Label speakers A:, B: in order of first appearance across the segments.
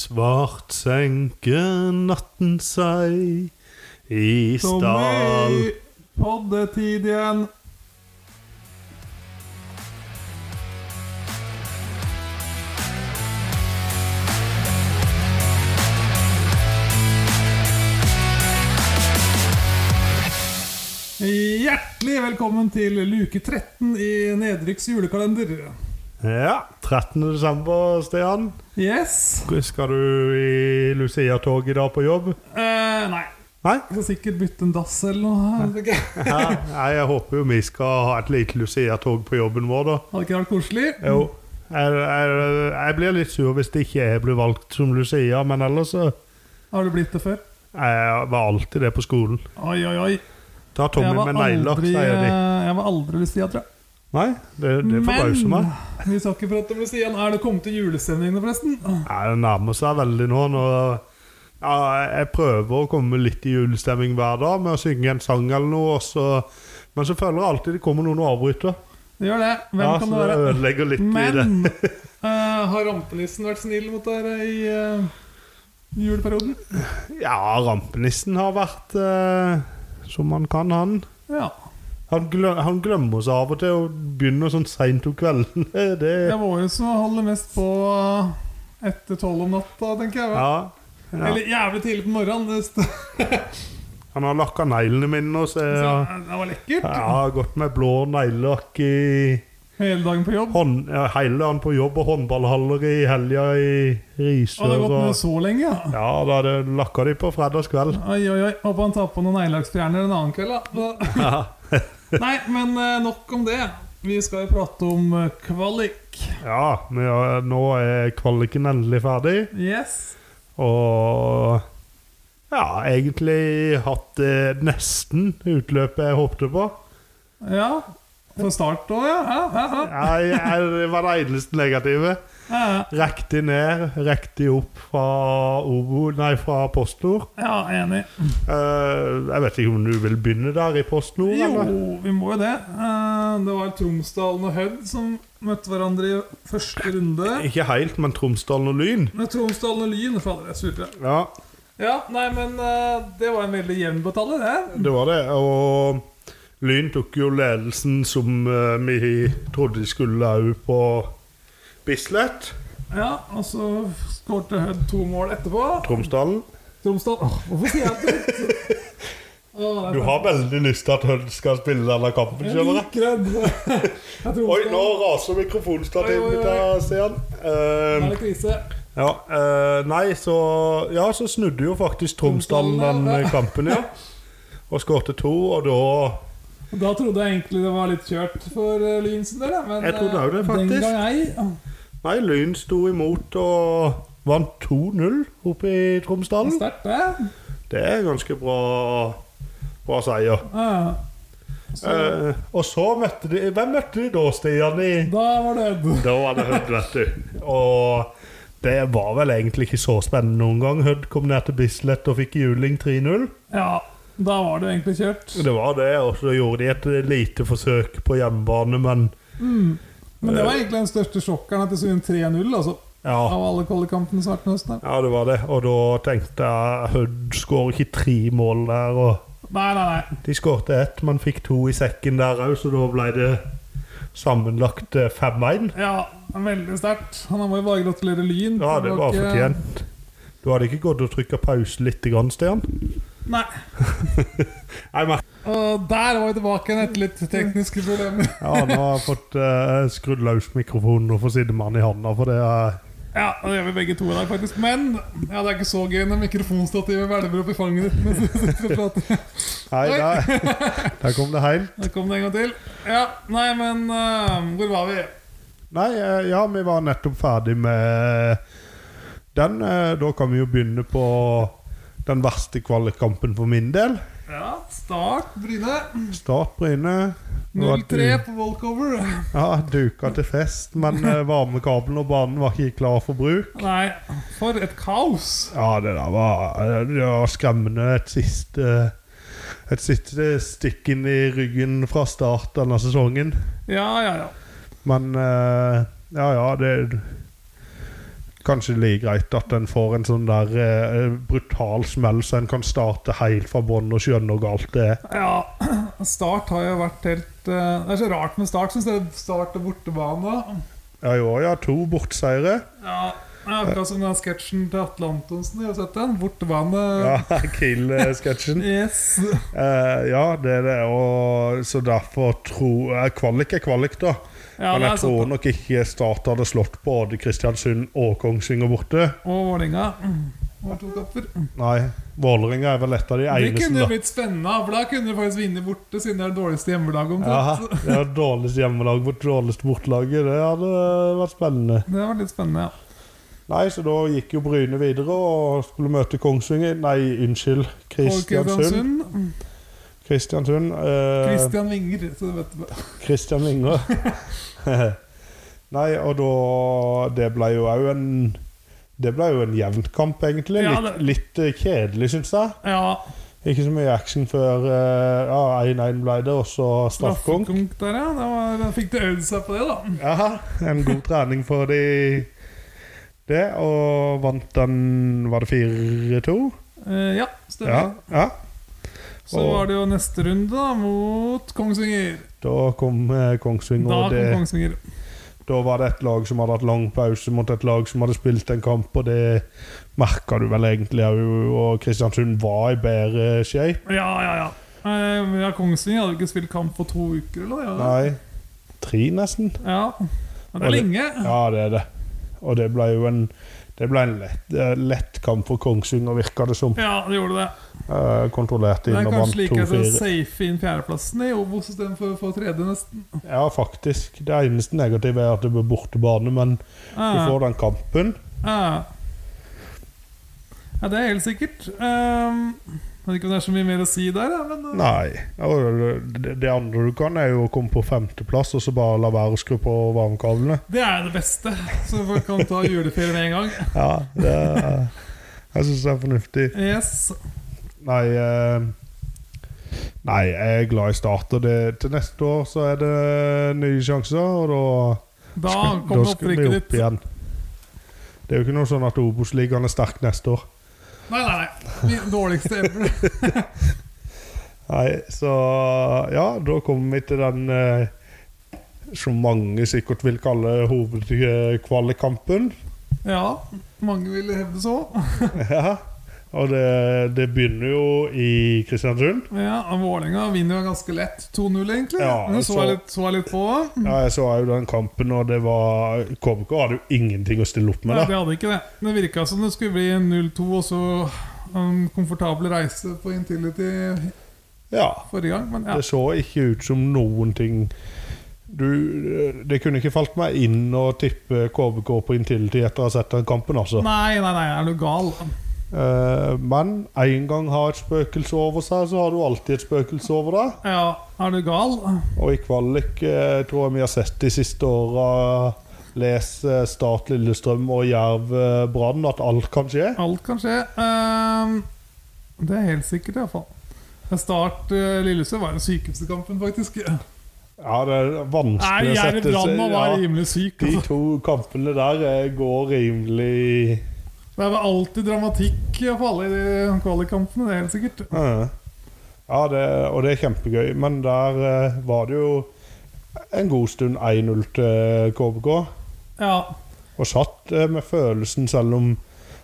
A: Svart senker natten seg i stall.
B: Poddetid igjen. Hjertelig velkommen til luke 13 i Nedrykks julekalender.
A: Ja, 13. desember, Stian.
B: Yes.
A: Skal du i Lucia-tog i dag på jobb?
B: Eh, nei.
A: Nei?
B: Jeg skal sikkert bytte en dass eller noe. her, tenker jeg.
A: Ja, nei, jeg håper jo vi skal ha et lite Lucia-tog på jobben vår, da.
B: Hadde ikke vært koselig.
A: Jo. Jeg, jeg, jeg blir litt sur hvis det ikke jeg blir valgt som Lucia, men ellers så
B: Har du blitt det før?
A: Jeg var alltid det på skolen.
B: Oi, oi, oi.
A: Ta Tommy
B: Jeg var
A: med negler,
B: aldri,
A: sier de.
B: eh, Jeg var aldri Lucia, tror jeg.
A: Nei, det, det forbauser meg.
B: Men vi skal ikke prate om Lucia. Er det kommet til julestemning nå, forresten?
A: Nei, det nærmer seg veldig nå. nå ja, jeg prøver å komme litt i julestemning hver dag med å synge en sang eller noe. og så- men så føler jeg alltid det kommer noen og avbryter.
B: Det gjør det. Hvem
A: ja,
B: kan
A: så
B: det være?
A: ødelegger litt i det.
B: Men eh, har rampenissen vært snill mot dere i eh, juleperioden?
A: Ja, rampenissen har vært eh, som han kan, han.
B: Ja.
A: Han, glø- han glemmer seg av og til og begynner sånn seint om kvelden.
B: Det
A: Det,
B: er våre som holder mest på eh, etter tolv om natta, tenker jeg. vel?
A: ja, ja.
B: Eller jævlig tidlig på morgenen. Det, st-
A: Han har lakka neglene mine nå, så jeg har-
B: så eh, det var lekkert.
A: jeg har gått med blå neglelakk i
B: Hele dagen på jobb.
A: hånd, ja, hele dagen på jobb og håndballhaller i helga i
B: Og det
A: Risør.
B: har gått med
A: Og,
B: så lenge, ja.
A: ja, da det lakka de på fredagskveld.
B: Oi, oi, oi. Håper han tar på noen neglelakkfjerner en annen kveld, da. Nei, men eh, nok om det. Vi skal jo prate om eh, kvalik.
A: Ja, men ja, nå er kvaliken endelig ferdig,
B: Yes.
A: og ja, egentlig hatt eh, nesten utløpet jeg håpte på.
B: Ja. For start òg, ja. Ja, ja, ja.
A: Jeg, jeg, det var det eneste negative.
B: ja.
A: Rekte ned, rekte opp fra Obo, nei, fra Postnord.
B: ja enig.
A: Eh, jeg vet ikke om du vil begynne der, i Postnord?
B: Jo,
A: eller?
B: vi må jo det. Eh, Det var Tromsdalen og Hødd som møtte hverandre i første runde.
A: Ikke helt, men Tromsdalen og Lyn.
B: Med Tromsdalen og Lyn, fader. Jeg surrer.
A: Ja,
B: Ja, nei, men eh, det var en veldig jevn batalje, det.
A: det var det. Og Lyn tok jo ledelsen som eh, vi trodde de skulle òg på Bislett.
B: Ja, og så skårte Hødd to mål etterpå.
A: Tromsdalen.
B: Tromsdal Åh, Hvorfor sier jeg det? Åh,
A: Du har veldig lyst til at Hødd skal spille denne kampen,
B: Jeg er
A: skjønner jeg.
B: likredd. Jeg tror
A: Oi,
B: det
A: nå
B: er-
A: raser eh, mikrofonstativet
B: Oi, oi,
A: mitt
B: oi.
A: her, Stian.
B: det
A: Uh,
B: er krise.
A: ja, eh, nei, så Ja, så snudde jo faktisk Tromsdalen den eh, kampen, ja. Og skårte to, og da
B: Da trodde jeg egentlig det var litt kjørt for eh, Lyn sin del, ja, men
A: Jeg trodde
B: eh,
A: også det, faktisk.
B: den gang ei.
A: Nei, Lyn sto imot og vant 2-0 oppe i
B: Det
A: Tromsdalen.
B: var Sterkt, det.
A: Det er ganske bra, bra seier.
B: Ja. Så
A: Eh, og så møtte de Hvem møtte de da, Stian? I?
B: da var det Ed.
A: Da var det Hødd, vet du. Og det var vel egentlig ikke så spennende noen gang. Hødd kom ned til Bislett og fikk juling 3-0.
B: Ja, da var det jo egentlig kjørt.
A: Det var det, og så gjorde de et lite forsøk på hjemmebane, men
B: Men det var egentlig den største sjokkeren at det sto inn 3-0, altså.
A: ja.
B: Av alle kvalikkampene starten av høsten. her.
A: Ja, det var det. Og da tenkte jeg Hødd skårer ikke tre mål der. Og
B: Nei, nei, nei.
A: de skårte ett, men fikk to i sekken der òg, så da ble det sammenlagt eh, 5-1.
B: Ja, veldig sterkt. Han må jo bare gratulere Lyn. eh,
A: Ja, det var
B: Dere-
A: fortjent. Du hadde ikke gått og trykka pause litt, grann, Stian?
B: Nei.
A: Nei, men
B: Og der var vi tilbake igjen etter litt tekniske problemer.
A: ja, nå har jeg fått eh, skrudd løs mikrofonen og får siddemann i handa, for det er
B: Ja, det gjør vi begge to i dag, faktisk. Men ja, det er ikke så gøy når mikrofonstativet hvelver opp i fanget ditt. mens du sitter og prater.
A: Nei,
B: Oi.
A: der, der kom det heil.
B: Der kom det en gang til. Ja, nei, men eh, hvor var vi?
A: Nei, eh, ja, vi var nettopp ferdig med den. eh, Da kan vi jo begynne på den verste kvalikkampen for min del.
B: Ja, start Bryne.
A: Start Bryne. Det var
B: 0-3
A: du-
B: på walkover.
A: Ja, duka til fest, men eh, varmekabelen og banen var ikke klar for bruk.
B: Nei, for et kaos.
A: Ja, det der var, det var skremmende. Et siste, et siste stikk inn i ryggen fra start denne sesongen.
B: Ja, ja, ja.
A: Men eh, ja, ja, det kanskje like greit at en får en sånn der eh, brutal smell, så en kan starte helt fra bånn og skjønne hvor galt det er.
B: Ja, Start har jo vært helt eh, Det er så rart med Start, syns jeg. Start og bortebane.
A: Ja, i år, ja. To bortseire.
B: Ja, det er Akkurat som den sketsjen til Atle Antonsen. Har du sett den? Bortebane.
A: Ja, eh, Kill-sketsjen.
B: Yes.
A: Eh, ja, det er det. Og, så derfor tror jeg eh, Kvalik er kvalik, da.
B: Ja,
A: Men
B: det
A: jeg
B: er sånn.
A: tror nok ikke Start hadde slått både Kristiansund og Kongsvinger borte.
B: Og Vålerenga. Mm, Over to kamper.
A: Nei, Vålerenga er vel et av de
B: Det
A: eneste
B: kunne jo
A: da.
B: blitt spennende, for da kunne du faktisk vinne borte, siden det er det dårligste hjemmelaget
A: Ja,
B: omtrent.
A: det var dårligst hjemmelag mot dårligst bortelaget. Det hadde vært spennende.
B: Det var litt spennende, ja.
A: Nei, så da gikk jo Bryne videre og skulle møte Kongsvinger Nei, unnskyld.
B: Og
A: Kristiansund.
B: Kristiansund. mm,
A: Kristiansund. Eh,
B: Kristian Winger, så du vet det.
A: Kristian Winger. Nei, og da Det ble jo òg en Det ble jo en jevnt kamp, egentlig.
B: Ja,
A: Litt, litt eh, kjedelig, syns jeg.
B: Ja, Ikke
A: Ikke så mye action før eh, ja, 1-1 ble det, og så straffekonk.
B: straffekonk der, ja. Da var, da fikk de øvd seg på det, da.
A: Ja, en god trening for de det, og vant den Var det 4-2?
B: Eh, ja, stemmer.
A: Ja, ja.
B: Så var det jo neste runde, da, mot Kongsvinger.
A: Da kom eh, Kongsvinger,
B: Da
A: og
B: kom
A: det,
B: Kongsvinger.
A: da var det et lag som hadde hatt lang pause mot et lag som hadde spilt en kamp, og det merka du vel egentlig òg, og Kristiansund var i bedre shape.
B: Ja, ja, ja. Eh, men ja, Kongsvinger hadde jo ikke spilt kamp på to uker, eller? Ja.
A: Nei, tre, nesten.
B: Ja. Men
A: Og
B: det er
A: det-
B: lenge.
A: Ja, det er det. Og det ble jo en, det ble en lett, eh, lett kamp for Kongsvinger, virka det som.
B: Ja, det gjorde det.
A: Eh, kontrollerte
B: Det
A: inn
B: er
A: og vant
B: kanskje like å
A: 2-4.
B: safe inn fjerdeplassen i Obos istedenfor å få tredje, nesten.
A: Ja, faktisk. Det eneste negative er at det blir bortebane, men du
B: Ja,
A: får den kampen.
B: ja. ah. ja, det er helt sikkert. Um, jeg vet ikke om det er så mye mer å si der, ja, men eh,
A: Nei. Og Det det andre du kan, er jo å komme på femteplass og så bare la være å skru på varmekablene.
B: det er det beste. Så folk kan ta juleferie med en gang.
A: Ja, det er, Jeg syns det er fornuftig.
B: Yes.
A: Nei eh, Nei, jeg er glad i Start, og det, til neste år så er det nye sjanser, og da
B: Da
A: da
B: kommer
A: skal vi
B: opprykket
A: opp
B: ditt.
A: igjen. Det er jo ikke noe sånn at Obos-ligaen er sterk neste år.
B: Nei, nei, nei. Min dårligste ever.
A: Nei, så ja, da kommer vi til den eh, som mange sikkert vil kalle hovedkvalikkampen.
B: Ja, mange vil hevde så.
A: ja. Og det, det begynner jo i Kristiansund.
B: Ja, og Vålerenga vinner jo ganske lett 2-0, egentlig.
A: Ja,
B: Men så
A: så-
B: jeg litt, så jeg litt på.
A: Ja, jeg så jo den kampen, og det var KBK hadde jo ingenting å stille opp
B: Nei,
A: med.
B: det
A: da
B: hadde ikke det. Det virka som det skulle bli 0-2, og så en komfortabel reise på Intility
A: Ja,
B: forrige gang. Men ja.
A: Det så ikke ut som noen ting du, Det kunne ikke falt meg inn å tippe KBK på Intility etter å ha sett den kampen, altså.
B: Nei, nei, nei, er du gal?
A: Eh, men en gang har et spøkelse over seg, så har du alltid et spøkelse over deg.
B: Ja, er du gal?
A: Og i kvalik eh, tror jeg vi har sett de siste åra Les eh, Start Lillestrøm og Jerv eh, Brann, at alt kan skje.
B: Alt kan skje. Ehm, det er helt sikkert, iallfall. Start eh, Lillesø var den sykeste kampen, faktisk. Nei,
A: Ja, det er vanskelig å
B: Jerv
A: sette seg
B: Brann var
A: ja,
B: rimelig syk.
A: De
B: Altså.
A: to kampene der eh, går rimelig
B: Det er vel alltid dramatikk i hvert fall i de kvalikkampene, det er helt sikkert.
A: eh. Ja, det, og det er kjempegøy. Men der eh, var det jo en god stund 1-0 til eh, KBK.
B: Ja,
A: Og satt eh, med følelsen, selv om,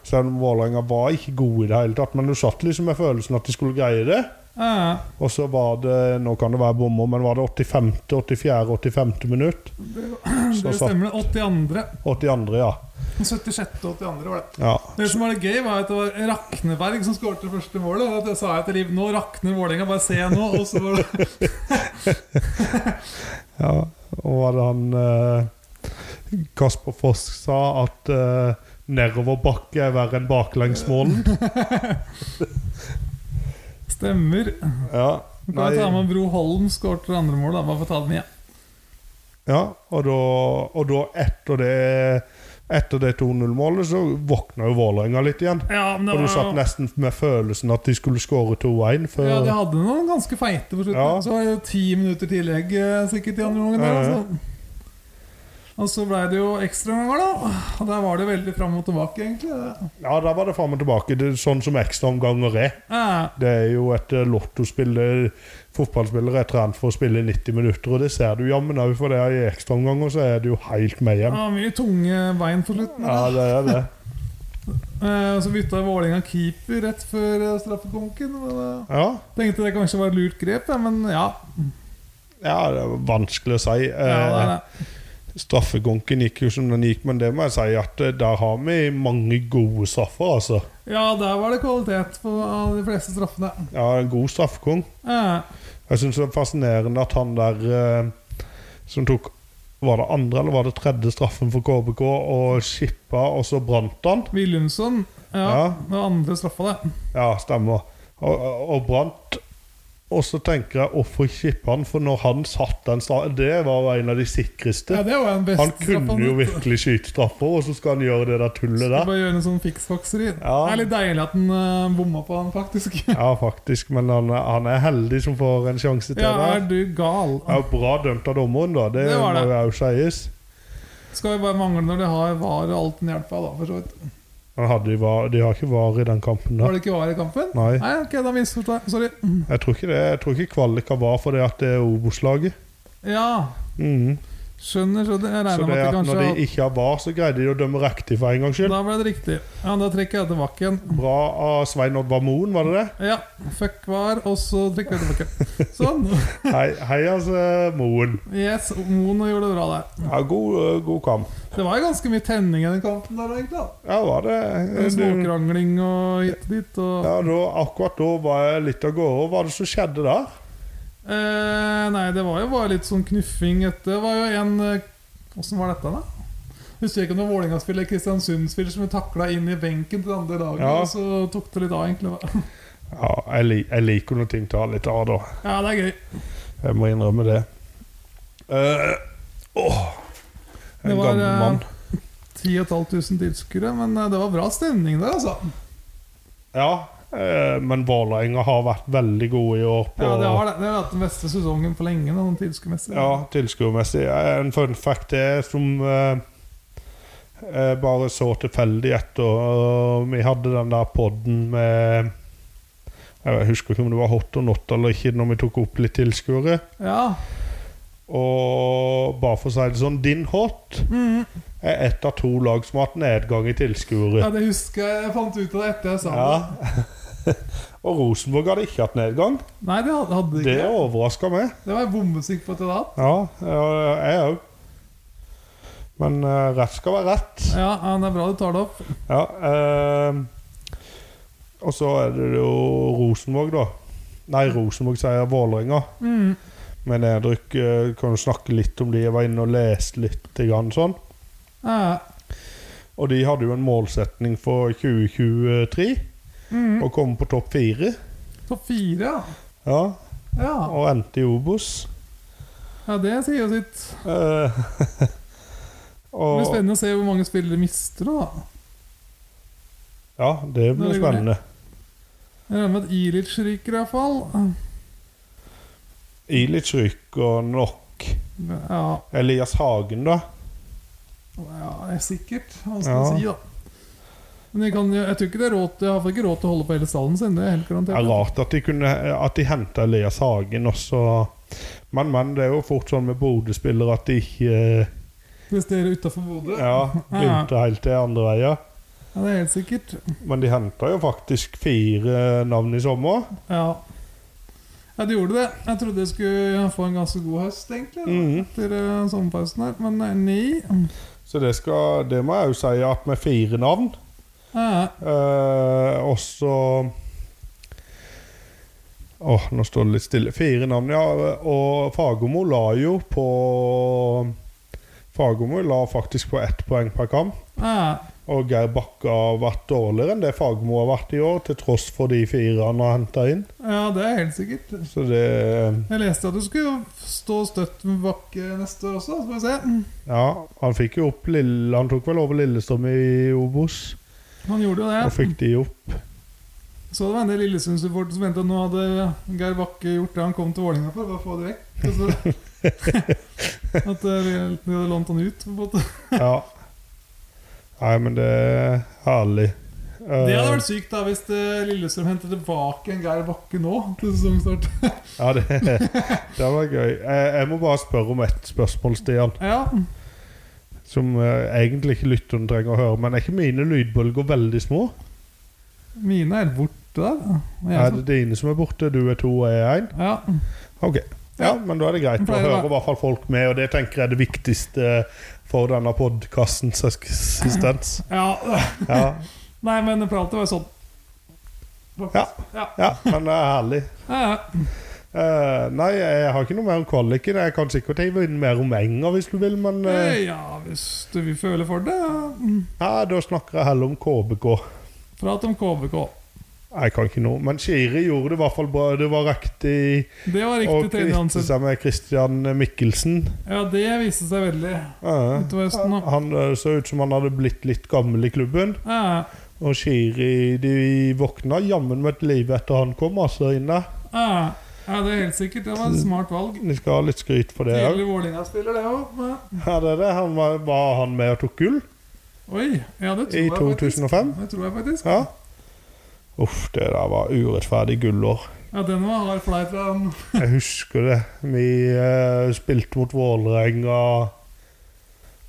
A: selv om Vålerenga var ikke gode i det hele tatt, men du satt liksom med følelsen at de skulle greie det.
B: eh,
A: Og så var det Nå kan det være bommer, men var det 85., 84., 85. minutt? Så
B: det
A: satt
B: stemmer. det. 82.
A: 82., ja.
B: 76. 82 var det.
A: ja.
B: Det som var det gøy, var at det var Rakneberg som skåret det første målet. Og det sa jeg til Liv nå rakner Vålerenga, bare se nå. Og så var det
A: ja. Og var det han eh, Kasper Foss sa at eh, nedoverbakke er verre enn baklengsmålen?
B: Stemmer.
A: Ja.
B: Kan
A: Nei.
B: jeg ta med Bro Holm skåret det andre målet, da, bare for å ta den igjen.
A: Ja, og da, og da etter det etter det 2-0-målet så våkna jo Vålerenga litt igjen.
B: Ja, men det
A: Og du satt
B: var
A: nesten med følelsen at de skulle skåre 2-1 før
B: ja, de hadde noen ganske feite på slutten.
A: Ja.
B: Så var det jo ti minutter tillegg eh, sikkert i andre omgang. der,
A: Ja, ja.
B: Altså. Og så blei det jo ekstraomganger, da. Og der var det veldig fram og tilbake, egentlig.
A: Ja, da var det fram og tilbake. Det, er sånn som ekstraomganger er.
B: Ja,
A: Det er jo et eh, lottospill. eh, Fotballspillere er trent for å spille 90 minutter, og det ser du jammen òg, for det er i ekstraomganger så er det jo helt med
B: det
A: hjem.
B: var mye tunge bein på slutten.
A: Ja,
B: da.
A: det er det.
B: Eh, Og så bytta Vålerenga keeper rett før eh, straffekonken. Men eh,
A: Ja,
B: tenkte det kanskje var et lurt grep, ja, men ja.
A: ja det er vanskelig å si.
B: ja det er
A: Eh,
B: det.
A: Straffegonken gikk jo som den gikk, men det må jeg si at eh, der har vi mange gode straffer, altså.
B: Ja, der var det kvalitet på av de fleste straffene. Eh,
A: Ja, en god straffekong.
B: Ja,
A: Jeg syns det er fascinerende at han der eh, som tok Var det andre eller var det tredje straffen for KBK, og skippa, og så brant han?
B: Willumsen. Ja,
A: Ja.
B: Det var andre straffa, det.
A: Ja, stemmer. Og, og brant. Og så tenker jeg hvorfor skippa han? For når han satt den straffen Det var en av de
B: Ja,
A: sikreste.
B: det var jo den beste
A: Han kunne jo virkelig skyte straffer, og så skal han gjøre det der tullet
B: Skal
A: der.
B: bare gjøre noe sånn fiksfakseri.
A: Ja.
B: Det er litt deilig at han eh, bomma på han, faktisk.
A: Ja, faktisk. Men han, han er heldig som får en sjanse til
B: Ja,
A: der.
B: er du gal?
A: Ja, bra dømt av dommeren, da. Det,
B: Det var
A: må
B: det.
A: jo også sies.
B: Skal jo bare mangle når de har var og alt den hjelpa, da, for så vidt.
A: Han hadde, jo var- de har ikke var i den kampen.
B: Var
A: da
B: det ikke var i kampen?
A: Nei.
B: Nei, ok, da misforstår jeg. Sorry.
A: Jeg tror ikke det. Jeg tror ikke kvalika var fordi at det er Obos-laget.
B: Ja,
A: Mhm.
B: skjønner, skjønner.
A: Så
B: Jeg regner
A: det
B: med
A: at
B: at det
A: når
B: kanskje
A: de ikke har var, så greide de å dømme riktig for en gangs skyld.
B: Da ble det riktig. Ja, da trekker jeg tilbake igjen.
A: Bra av Svein Oddvar Moen, var det det?
B: Ja, fuck var, og så trekker jeg tilbake. Sånn.
A: Hei, hei altså, Moen.
B: Yes, Moen gjorde det bra der.
A: Ja, god, øh, god kamp.
B: Det var jo ganske mye tenning i den kampen der, egentlig. da.
A: Ja, var det du,
B: Småkrangling og hit og dit. Og,
A: ja, da, Akkurat da var jeg litt av gårde. Hva var det som skjedde der?
B: eh, nei, det var jo bare litt sånn knuffing etter. Det var jo en Åssen var dette, da? Husker jeg ikke om det var Vålerenga-spiller eller Kristiansund-spiller som ble takla inn i benken til det andre laget.
A: Ja.
B: Og så tok det litt av, egentlig. da.
A: Ja, jeg, li, jeg liker når ting tar litt av, da.
B: Ja, det er gøy.
A: Jeg må innrømme det. Uh, åh, en
B: Det var,
A: gammel
B: eh,
A: mann.
B: 3500 tilskuere, men eh, det var bra stemning der, altså.
A: Ja, eh, men Vålerenga har vært veldig gode i år på
B: Ja, det har det. Det har vært den beste sesongen på lenge. Noen tilskuermessig.
A: Ja, tilskuermessig. Eh, En fun fact er som eh, jeg bare så tilfeldig etter eh, Vi hadde den der podden med Jeg husker ikke om det var hot or not eller ikke, når vi tok opp litt tilskuere.
B: ja.
A: Og bare for å si det sånn, din hot
B: Mhm.
A: er ett av to lag som har hatt nedgang i
B: ja,
A: tilskuere.
B: det husker jeg. Jeg fant ut av det etter jeg sa
A: Ja.
B: det.
A: Og Rosenborg hadde ikke hatt nedgang.
B: Nei, det hadde, hadde
A: Det
B: ikke. Det,
A: overraska meg.
B: var jeg bombesikker på at jeg hadde hatt.
A: Ja, ja, jeg òg. Men eh, rett skal være rett.
B: Ja, ja, det er bra du tar det opp.
A: Ja, eh, og så er det jo Rosenborg, da. Nei, Rosenborg sier Vålerenga.
B: Mhm.
A: Men Edruk eh, kan jo snakke litt om de. Jeg var inne og leste litt. Grann, sånn.
B: Ja, ja.
A: Og de hadde jo en målsetning for 2023
B: Mhm.
A: å komme på topp fire.
B: Topp fire, ja.
A: Ja,
B: ja.
A: og endte i Obos.
B: Ja, det sier jo sitt.
A: Eh,
B: Det blir
A: og
B: spennende å se hvor mange spillere mister òg, da.
A: Ja, det
B: Når
A: blir
B: det går ned.
A: spennende.
B: Jeg regner med at Ilic ryker, iallfall.
A: Ilic ryker nok.
B: Ja,
A: Elias Hagen, da?
B: ja, det er sikkert. Hva skal
A: Ja.
B: man si, da? Men jeg, kan, jo- jeg tror ikke det er råd til, jeg har i hvert fall ikke råd til å holde på hele stallen sin. Det er helt
A: Det er
B: garantert.
A: rart at de, kunne, at de henta Elias Hagen også. Men, men det er jo fort sånn med Bodø-spillere at de ikke eh,
B: Prestere utafor Bodø. Ja.
A: ja, glimter helt til andre veier.
B: det er helt sikkert.
A: Men de henta jo faktisk fire navn i sommer.
B: Ja. ja, du gjorde det. Jeg trodde jeg skulle få en ganske god høst, egentlig. da,
A: Mhm.
B: Etter eh, sommerpausen her. Men eh, nei.
A: Så det, skal, det må jeg jo si at med fire navn
B: Ja,
A: eh, Og så Åh, nå står det litt stille. Fire navn, ja. Og Fagermo la jo på Fagermo la faktisk på ett poeng per kamp.
B: ja.
A: Og Geir Bakke har vært dårligere enn det Fagermo har vært i år, til tross for de fire han har henta inn.
B: ja, det er helt sikkert.
A: Så det eh,
B: Jeg leste at du skulle stå støtt med Bakke neste år også, så får vi se.
A: Ja, han fikk jo opp Lille Han tok vel over Lillestrøm i Obos,
B: Han gjorde jo
A: og
B: det.
A: fikk de opp.
B: Så det var en del Lillesund-supporter som mente at nå hadde Geir Bakke gjort det han kom til Vålerenga for, bare få det vekk. Og så- at eh, de hadde lånt han ut. på en måte.
A: Ja. Nei, men det er herlig. Eh,
B: Det hadde vært sykt da hvis eh, Lillestrøm hentet tilbake en Geir Bakke nå til sesongstart.
A: Ja, det, det var gøy. Jeg, jeg må bare spørre om ett spørsmål, Stian.
B: Ja,
A: Som eh, egentlig ikke lytteren trenger å høre. Men er ikke mine lydbølger veldig små?
B: mine er borte der. da. Og jeg
A: Er
B: som-
A: det dine som er borte? Du er to, og jeg er én?
B: Ja.
A: Ok. Ja,
B: Ja.
A: men da er det greit.
B: Men
A: Da
B: pleier det å
A: hører
B: være-
A: i hvert fall folk med, og det tenker jeg er det viktigste eh, for denne podkastens eksistens.
B: ja.
A: Ja,
B: Nei, men det pleier alltid å være sånn.
A: Ja.
B: Ja.
A: ja, men det er herlig.
B: Ja, ja.
A: Eh, nei, jeg har ikke noe mer om kvaliken. Jeg kan sikkert hive inn mer om enga hvis du vil, men eh,
B: Eh, ja, hvis du vil føle for det. ja. Mm.
A: Nei, da snakker jeg heller om KBK.
B: Prat om KBK.
A: Jeg kan ikke noe. Men Shiri gjorde det i hvert fall bra. Det var riktig,
B: Det var
A: å
B: riktig
A: kvitte
B: tredjeansettelse.
A: seg med Christian Mikkelsen.
B: Ja, det viste seg veldig.
A: Ja.
B: Utover høsten, da.
A: han eh, så ut som han hadde blitt litt gammel i klubben.
B: Ja,
A: Og Shiri de våkna jammen med et liv etter han kom, altså, inne.
B: ja. ja, det er helt sikkert. Det var et smart valg.
A: De skal ha litt skryt for det òg.
B: Tidlig Vålerenga-spiller, det òg.
A: Ja, det er det. Han var, var han med og tok gull
B: Oi. Ja, det tror
A: i
B: jeg faktisk.
A: 2005?
B: Det tror jeg faktisk.
A: Ja. Uff, det der var urettferdig gullår.
B: Ja, den var hard flei fra han.
A: Jeg husker det. Vi eh, spilte mot Vålerenga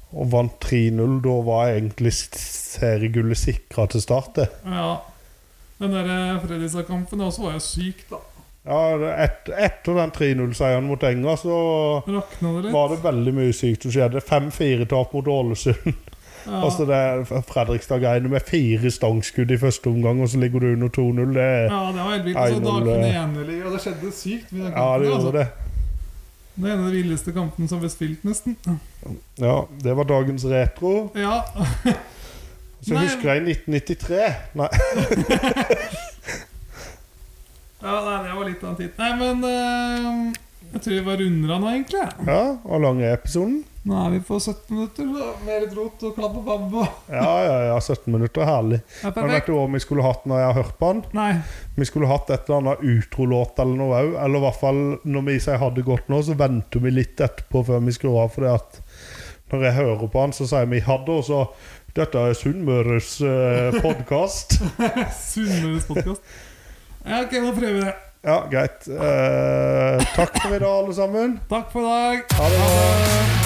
A: og vant 3-0. Da var egentlig s- seriegullet sikra til start. det.
B: Ja. Den der eh, Fredrikstad-kampen også var jo syk, da.
A: Ja, det- et, etter den 3-0-seieren mot Enga, så
B: Rakna det litt.
A: var det veldig mye sykt som skjedde. 5-4-tap mot Ålesund.
B: Ja.
A: Altså det Fredrikstad-greiene med fire stangskudd i første omgang, og så ligger du under 2-0. Det,
B: Ja, det var helt vilt. Altså,
A: 1-0,
B: Dagfinn
A: eh.
B: Eneli, og det skjedde sykt mye i den
A: ja,
B: kampen.
A: det
B: altså.
A: gjorde det.
B: Det er en av de villeste kampene som ble spilt, nesten.
A: Ja, Det var dagens retro.
B: Ja,
A: Så
B: Nei.
A: husker jeg 1993. Nei.
B: ja nei, det var litt av en tid. Nei, men eh, jeg tror vi bare runder av nå, egentlig.
A: Ja, og lang er episoden?
B: Nå er vi på 17 minutter, så med litt rot og klabb og babb og
A: Ja, ja, ja, 17 minutter er herlig.
B: Ja,
A: Men vet
B: perfekt.
A: du hva vi skulle hatt når jeg har hørt på den?
B: Nei.
A: Vi skulle hatt et eller annet utrolåt eller noe òg. Eller i hvert fall når vi sier ha det godt nå, så venter vi litt etterpå før vi skrur av. Fordi at når jeg hører på den, så sier vi ha det, og så Dette er Sunnmøres eh, podkast.
B: Sunnmøres podkast. Ja, ok, nå prøver vi det.
A: ja, greit. Eh, takk for i dag, alle sammen.
B: Takk for i dag.
A: Ha det.